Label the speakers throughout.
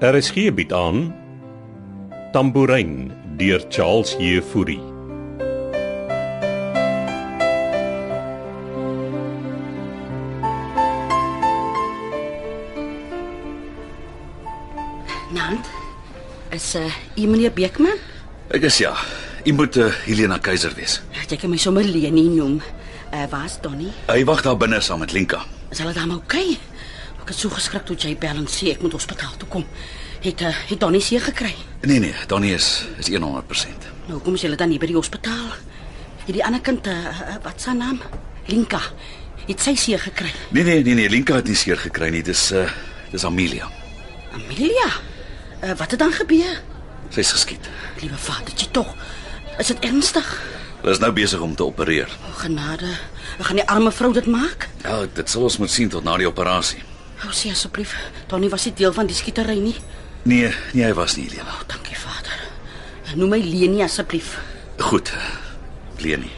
Speaker 1: RSG bied Er aan Tambourin deur Charles Jefouri.
Speaker 2: Nant, is eh uh, meneer Beekman?
Speaker 3: Ek is ja. U moet uh, Helena Keiser wees.
Speaker 2: Jy kan my sommer Leni noem. Eh uh, waar's Donnie?
Speaker 3: Hy wag daar binne saam met Lenka.
Speaker 2: Is hulle dan oukei? Okay? Ek het so geskrik toe jy bel en sê ek moet hospitaal toe kom. Het uh, het Donnie seer gekry.
Speaker 3: Nee nee, Donnie is is 100%.
Speaker 2: Nou hoekom is hulle dan nie by die hospitaal? Hierdie ander kind, eh, eh, wat se naam? Linka. Het sy seer gekry?
Speaker 3: Nee nee nee nee, Lenka het nie seer gekry nie. Dis uh dis Amelia.
Speaker 2: Amelia. Eh, wat het dan gebeur?
Speaker 3: Sy's geskiet.
Speaker 2: Liewe vadertjie tog. Is dit ernstig?
Speaker 3: Hulle is nou besig om te opereer.
Speaker 2: O genade. Ek gaan die arme vrou dit maak.
Speaker 3: Ja, dit sal ons moet sien tot na die operasie.
Speaker 2: Hou sy asseblief. Donnie was nie deel van die skietery nie.
Speaker 3: Nee, nee, hy was nie Helena.
Speaker 2: O, Oh, dankie vader. Noem my Leni asseblief.
Speaker 3: Goed. Leni.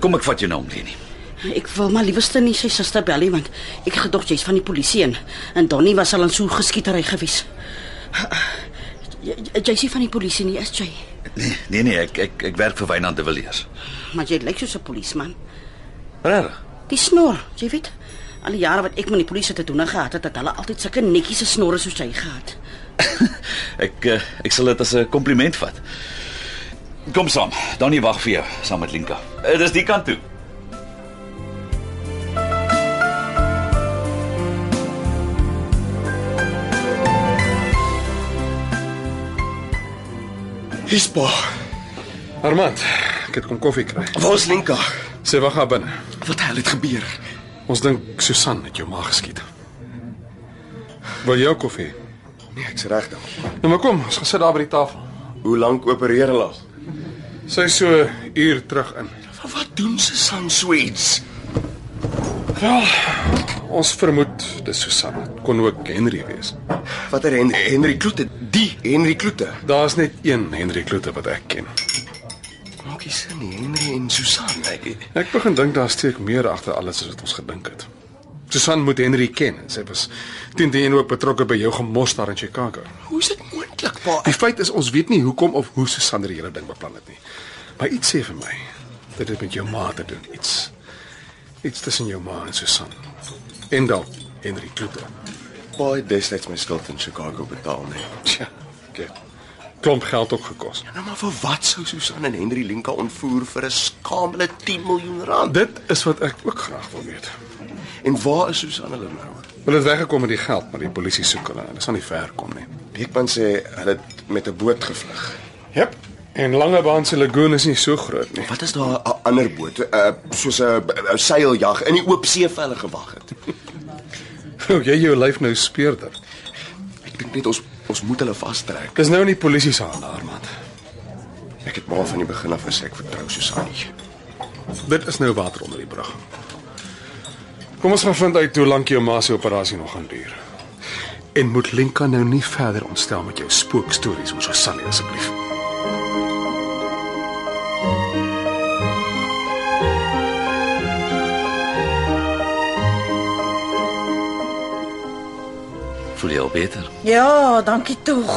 Speaker 3: Kom ek vat jou na om Leni.
Speaker 2: Ek wil maar liewerste nie sy suster bel nie want ek gedog jy's van die polisie en en Donnie was al aan so geskietery gewees. Jy jy's nie van die polisie nie, is jy?
Speaker 3: Nee, nee nee, ek ek ek werk vir Wynand de Villiers.
Speaker 2: Maar jy lyk soos 'n polisieman.
Speaker 3: Regtig?
Speaker 2: Die snor, jy weet. Al die jare wat ek met die polisie te doen gehad het, het hulle altyd sulke netjiese snorre soos jy gehad.
Speaker 3: Ek eh, ek sal dit as 'n kompliment vat. Kom saam. Donnie wag vir jou saam met Linka. Eh, Dis die kant toe.
Speaker 4: Hier's pa.
Speaker 5: Armand, ek het kom koffie kry.
Speaker 4: Waar's Lenka?
Speaker 5: Sy wag daar binne.
Speaker 4: Wat hel het gebeur?
Speaker 5: Ons dink Susan het jou ma geskiet. Wil jy ook koffie?
Speaker 4: Nee, ek's reg dan.
Speaker 5: Nou maar kom, ons gaan sit daar by die tafel.
Speaker 4: Hoe lank opereer hulle al?
Speaker 5: Sy is so 'n uur terug in.
Speaker 4: Wat, wat doen Susan so iets?
Speaker 5: Ons vermoed dis Susan. Het Kon ook Henry wees.
Speaker 4: Watter Henry? Henry Kloete. Die Henry Kloete.
Speaker 5: Daar's net een Henry Kloete wat ek ken.
Speaker 4: Maak nie sin nie, Henry en Susan. Nee, Ek,
Speaker 5: Ek begin dink daar steek meer agter alles as wat ons gedink het. Susan moet Henry ken. en Sy was teen die een ook betrokke by jou gemos daar in Chicago.
Speaker 4: hoe is dit moontlik, pa?
Speaker 5: Die feit is ons weet nie hoekom of hoe Susan die hele ding beplan het nie. Maar iets sê vir my dit het met jou ma te doen, iets. Iets tussen jou ma en Susan. En dan Henry Kloete.
Speaker 4: Pa het destyds my skuld in Chicago betaal, nee.
Speaker 5: Tja, dit klomp geld ook gekos.
Speaker 4: Nou maar vir wat sou Susan en Henry Lenka ontvoer vir 'n skamele 10 miljoen rand?
Speaker 5: Dit is wat ek ook graag wil weet.
Speaker 4: En waar is Susan hulle nou?
Speaker 5: Hulle het weggekom met die geld, maar die polisie soek hulle. Hulle sal nie ver kom nie.
Speaker 4: Beekman sê hulle het met 'n boot gevlug.
Speaker 5: Jep. En Langebaan se lagoon is nie so groot nie.
Speaker 4: Wat is daar 'n ander boot, uh, soos 'n 'n seiljag in die oop see vir hulle gewag het?
Speaker 5: Gou jy jou lyf nou speurder.
Speaker 4: Ek dink net ons ons moet hulle vastrek.
Speaker 5: Dis nou in die polisie se hande, Armand.
Speaker 4: Ek het maar van die begin af gesê ek vertrou Susan nie.
Speaker 5: Dit is nou water onder die brug. Kom ons gaan vind uit hoe lank jou ma se operasie nog gaan duur. En moet Linka nou nie verder ontstel met jou spookstories oor Susanne asseblief.
Speaker 3: Voel jy al beter?
Speaker 6: Ja, dankie tog.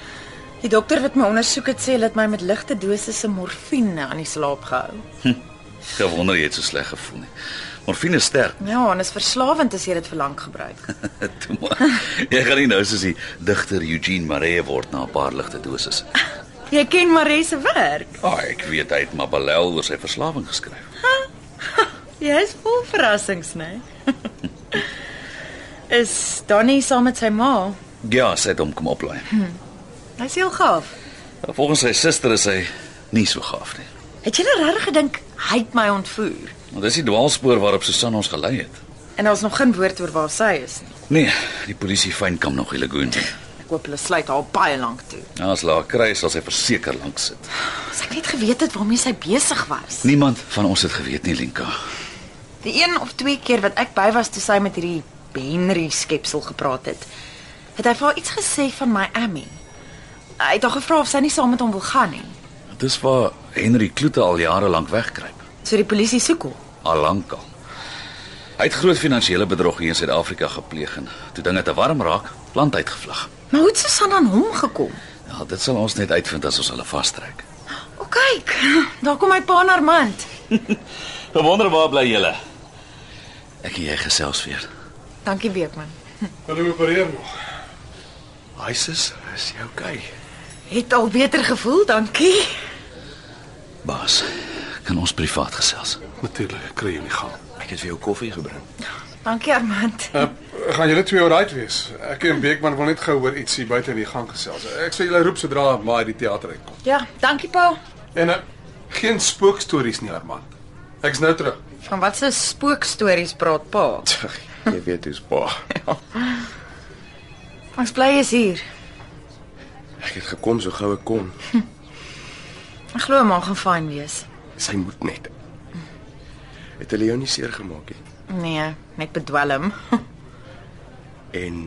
Speaker 6: Die dokter wat my ondersoek het sê hulle het my met ligte dosisse morfine aan die slaap gehou.
Speaker 3: Gewonder jy het so sleg gevoel nie. Morfine is sterk.
Speaker 6: Ja, en is verslawend as jy dit vir lank gebruik.
Speaker 3: Toe maar. Jy gaan nie nou soos die digter Eugene Maree word na 'n paar ligte dosisse.
Speaker 6: Jy ken Maree se werk.
Speaker 3: Ah, ek weet hy het maar belel oor sy verslawing geskryf.
Speaker 6: Jy is vol verrassings, né? is Donnie saam met sy ma?
Speaker 3: Ja, sy het hom kom oplaai.
Speaker 6: Hy's heel gaaf.
Speaker 3: Volgens sy suster is hy nie so gaaf nie.
Speaker 6: Het jy nou regtig gedink hy het my ontvoer?
Speaker 3: Want dis die dwaalspoor waarop Susan ons gelei het.
Speaker 6: En daar's nog geen woord oor waar sy is nie.
Speaker 3: Nee, die polisie fyn kom nog die lagoon toe.
Speaker 6: Ek hoop hulle sluit haar baie lank toe.
Speaker 3: Nou as laat kry sal sy verseker lank sit.
Speaker 6: As ek net geweet het waarmee sy besig was.
Speaker 3: Niemand van ons het geweet nie, Lenka.
Speaker 6: Die een of twee keer wat ek by was toe sy met hierdie Henry skepsel gepraat het, het hy vir haar iets gesê van my Amy. Hy het haar gevra of sy nie saam met hom wil gaan nie.
Speaker 3: Dis waar Henry Kloete al jare lank wegkruip.
Speaker 6: So die polisie soek hom.
Speaker 3: Al lank al. Hy het groot finansiële bedrog hier in Suid-Afrika gepleeg en toe dinge te warm raak, land uitgevlug.
Speaker 6: Maar hoe het Susan aan hom gekom?
Speaker 3: Ja, dit sal ons net uitvind as ons hulle vastrek.
Speaker 6: O kyk, daar kom my pa Armand.
Speaker 3: Gewonder waar bly julle? Ek en jy gesels weer.
Speaker 6: Dankie Beekman.
Speaker 5: Hulle opereer nog.
Speaker 4: Hi sis, is jy okay?
Speaker 6: Het al beter gevoel, dankie.
Speaker 3: Baas, kan ons privaat gesels?
Speaker 5: Natuurlik, ek kry jou nie gaan.
Speaker 4: Ek het vir jou koffie gebring.
Speaker 6: Dankie Armand.
Speaker 5: Uh, gaan julle twee alright wees? Ek en Beekman wil net gou oor ietsie buite in die gang gesels. Ek sê julle roep sodra maar uit die teater uitkom.
Speaker 6: Ja, dankie pa.
Speaker 5: En uh, geen spookstories nie, Armand. Ek's nou terug.
Speaker 6: Van watse spookstories praat pa?
Speaker 4: Jy weet hoe's pa.
Speaker 6: Ons bly is hier.
Speaker 4: Ek het gekom so gou ek kon.
Speaker 6: Ek glo maar gaan fyn wees.
Speaker 4: Sy moet net. Het hulle jou nie seer gemaak nie?
Speaker 6: Nee, net bedwelm.
Speaker 4: En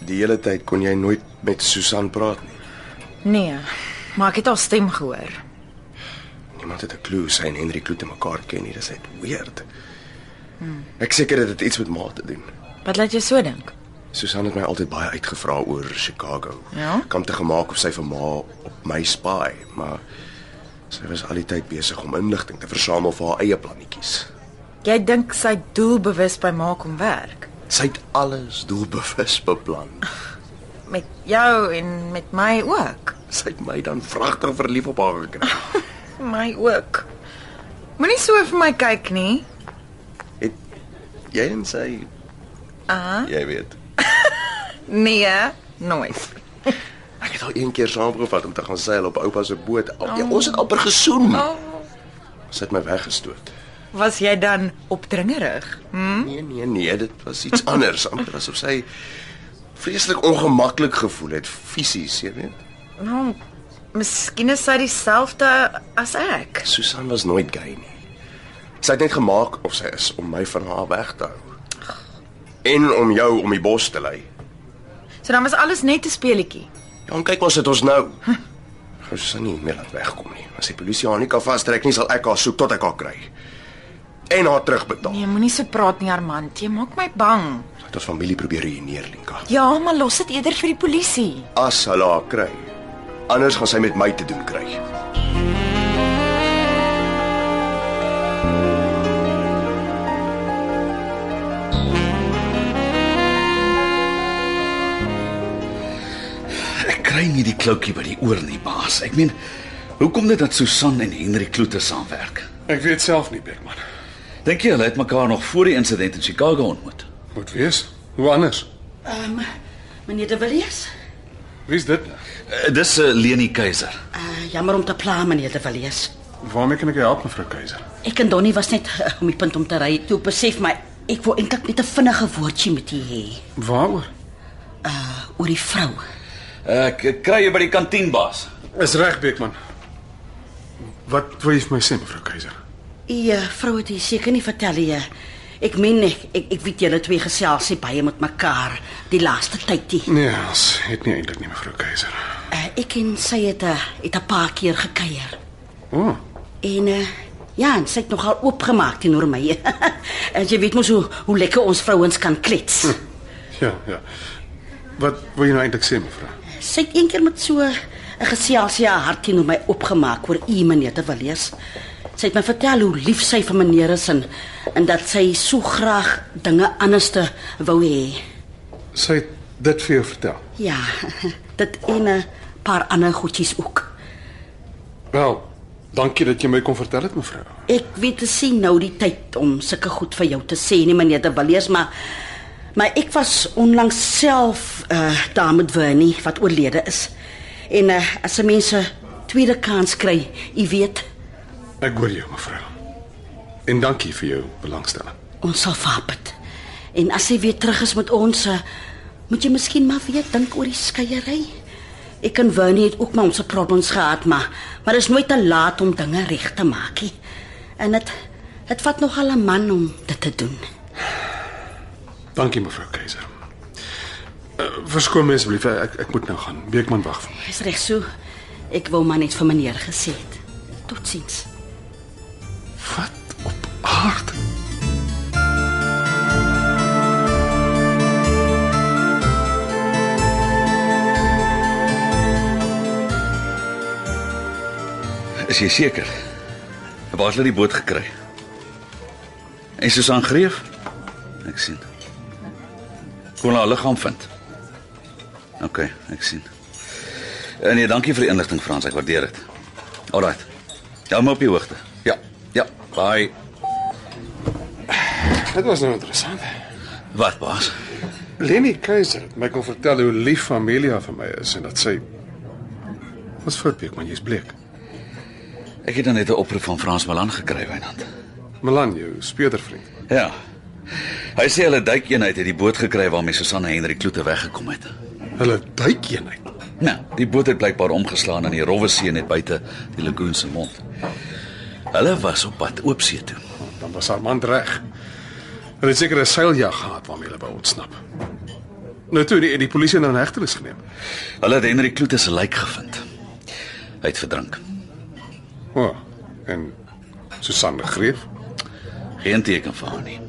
Speaker 4: die hele tyd kon jy nooit met Susan praat nie.
Speaker 6: Nee, maar ek het haar stem gehoor.
Speaker 4: Niemand het 'n klou hoe sy en Henry Kloete mekaar ken nie, dis net weird. Ek seker dit het iets met ma te doen.
Speaker 6: Wat laat jou so dink?
Speaker 4: Susan het my altyd baie uitgevra oor Chicago.
Speaker 6: Ja?
Speaker 4: Kom te gemaak of sy vir ma op my spy, maar sy was al die tyd besig om inligting te versamel vir haar eie plannetjies.
Speaker 6: Jy dink sy doelbewus by maak om werk
Speaker 4: Sy het alles doelbewus beplan.
Speaker 6: met jou en met my ook.
Speaker 4: Sy het my dan vragtig verlief op haar gekry.
Speaker 6: My ook. Moenie so vir my kyk nie.
Speaker 4: Het jy en sy,
Speaker 6: Ah,
Speaker 4: jy weet.
Speaker 6: nee, nooit.
Speaker 4: Ek het al een keer saamgevat om te gaan seil op oupa se boot. Al, ja, ons het amper gesoen.
Speaker 6: Oh,
Speaker 4: Sy het my weggestoot.
Speaker 6: was jy dan opdringerig? Hm?
Speaker 4: Nee, nee, nee, dit was iets anders, amper asof sy vreeslik ongemaklik gevoel het fisies, jy weet.
Speaker 6: Nou, miskien is sy dieselfde as ek.
Speaker 4: Susan was nooit gay nie. Sy het net gemaak of sy is om my van haar weg te hou. En om jou om die bos te lei.
Speaker 6: So dan was alles net 'n speletjie.
Speaker 4: Ja, en kyk waar sit ons nou. Gou Susan nie meer laat wegkom nie. As die polisie haar nie kan vastrek nie, sal ek haar soek tot ek haar kry. En haar terugbetaal.
Speaker 6: Nee, moenie so praat nie, Armand. Jy maak my bang.
Speaker 4: Dat ons familie probeer ruïneer, Linka.
Speaker 6: Ja, maar los dit eerder vir die polisie.
Speaker 4: As hulle haar kry, anders gaan sy met my te doen kry.
Speaker 3: Ek kry nie die kloutjie by die oor nie, baas. Ek meen, hoekom dit dat Susan en Henry Kloete saamwerk?
Speaker 5: Ek weet self nie, Beekman.
Speaker 3: Dink jy hulle het mekaar nog voor die insident in Chicago ontmoet?
Speaker 5: Moet wees. Hoe anders?
Speaker 2: Ehm um, meneer De Villiers?
Speaker 5: Wie's dit?
Speaker 3: Uh, dis uh, Leni Keiser.
Speaker 2: Uh, jammer om te pla, meneer De Villiers.
Speaker 5: Waarmee kan ek jou help, mevrou Keiser?
Speaker 2: Ek en Donnie was net eh, om die punt om te ry. Toe besef my ek wou eintlik net 'n vinnige woordjie met u hê eh,
Speaker 5: Waaroor?
Speaker 2: oor die vrou.
Speaker 3: Uh, Ek ek kry jou by die kantien, baas.
Speaker 5: Is reg, Beekman. Wat wil jy vir my sê, mevrou Keiser?
Speaker 2: U eh, vrou het u seker nie vertel nie. eh. Ek meen ek ek, ek weet julle twee gesels nie baie met mekaar die laaste tyd nie.
Speaker 5: Nee, ons het nie eintlik nie, mevrou Keiser.
Speaker 2: Uh, ek en sy het 'n het 'n paar keer gekuier.
Speaker 5: O, oh,
Speaker 2: En uh, ja, en sy het nogal oopgemaak teenoor my. en jy weet mos hoe hoe lekker ons vrouens kan klets.
Speaker 5: ja, ja. Wat wil jy nou eintlik sê, mevrou?
Speaker 2: Sy het eendag met so 'n geselsie haar hart teenoor my opgemaak oor u meneer te wil lees. Sy het my vertel hoe lief sy vir meneer is en en dat sy so graag dinge anders te wou hê.
Speaker 5: Sy het dit vir jou vertel.
Speaker 2: Ja, dit en 'n paar ander goedjies ook.
Speaker 5: Wel, dankie dat jy my kon vertel dit, mevrou.
Speaker 2: Ek weet te sien nou die tyd om sulke goed vir jou te sê nie meneer de Villiers, maar maar ek was onlangs self uh daar met Winnie wat oorlede is. En uh, as 'n mens 'n tweede kans kry, jy weet,
Speaker 5: Ek hoor jou, mevrou. En dankie vir jou belangstelling.
Speaker 2: Ons sal vapit. En as hy weer terug is met ons, eh, moet jy miskien maar weer dink oor die skeiery. Ek en Winnie het ook maar ons problems gehad, maar maar is nooit te laat om dinge reg te maak nie. En dit dit vat nogal 'n man om dit te doen.
Speaker 5: Dankie, mevrou Keiser. Uh, verskoon my asseblief, ek ek moet nou gaan. Beekman wag vir my.
Speaker 2: Dis reg so. Ek wou maar net vir meneer gesê het. Totsiens.
Speaker 5: Wat op aarde?
Speaker 3: Is jy seker? Waar het hulle die boot gekry? En Susan Greef? Ek sien. Kon hulle haar liggaam vind. OK, ek sien. Eh, Nee, dankie vir die inligting Frans, ek waardeer dit. Alraai. Hou my op die hoogte. Ja. Ja, bye.
Speaker 5: Dit was nou interessant.
Speaker 3: Wat baas?
Speaker 5: Lenny Keiser het my kon vertel hoe lief Amelia vir my is en dat sy Wat vir pik man, jy's bleek.
Speaker 3: Ek het dan net 'n oproep van Frans Malan gekry, Wynand.
Speaker 5: Milan jou speurdervriend.
Speaker 3: Ja. Hy sê hulle duikeenheid het die boot gekry waarmee Susanne Henry Kloete weggekom het.
Speaker 5: Hulle duikeenheid.
Speaker 3: Nou, die boot het blykbaar omgeslaan in die rowwe see net buite die lagoon se mond. Hulle was op pad oopsee toe.
Speaker 5: Dan was haar man reg. Hulle het seker 'n seiljag gehad waarmee hulle by ontsnap. Nou toe die, die polisie nou in hegtenis geneem.
Speaker 3: Hulle het Henry Kloete se lijk gevind. Hy het verdrink.
Speaker 5: O. Oh, en Susanne Greef
Speaker 3: Geen teken van haar nie.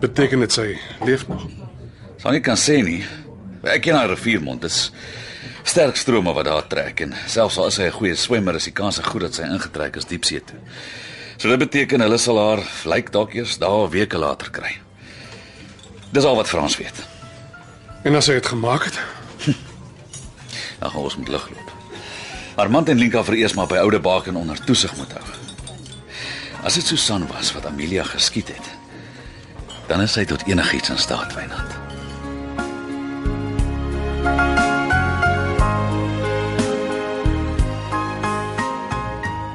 Speaker 5: beteken dit sy leef nog.
Speaker 3: Sal nie kan sê nie. Ek ken haar riviermond. Dit is sterk strome wat daar trek en selfs al is hy 'n goeie swemmer, is die kans goed dat sy ingetrek is diepsee toe. So dit beteken hulle sal haar lijk dalk eers daar weke later kry. Dis al wat Frans weet.
Speaker 5: En as hy dit gemaak het,
Speaker 3: Dan gaan ons met lig loop. Armand en Linka vereers maar by Oude Baken onder toesig moet hou. As dit Susan was wat Amelia geskiet het, dan is sy tot enigiets in staat, Wynand.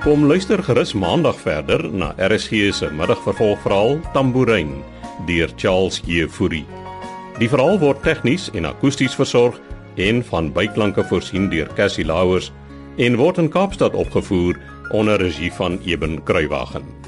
Speaker 1: Kom luister gerus maandag verder na RSG se middagvervolgverhaal Tambourine deur Charles Jefouri. Die verhaal word tegnies en akoesties versorg en van byklanke voorsien deur Cassie Lauers en word in Kaapstad opgevoer onder regie van Eben Kruiwagen.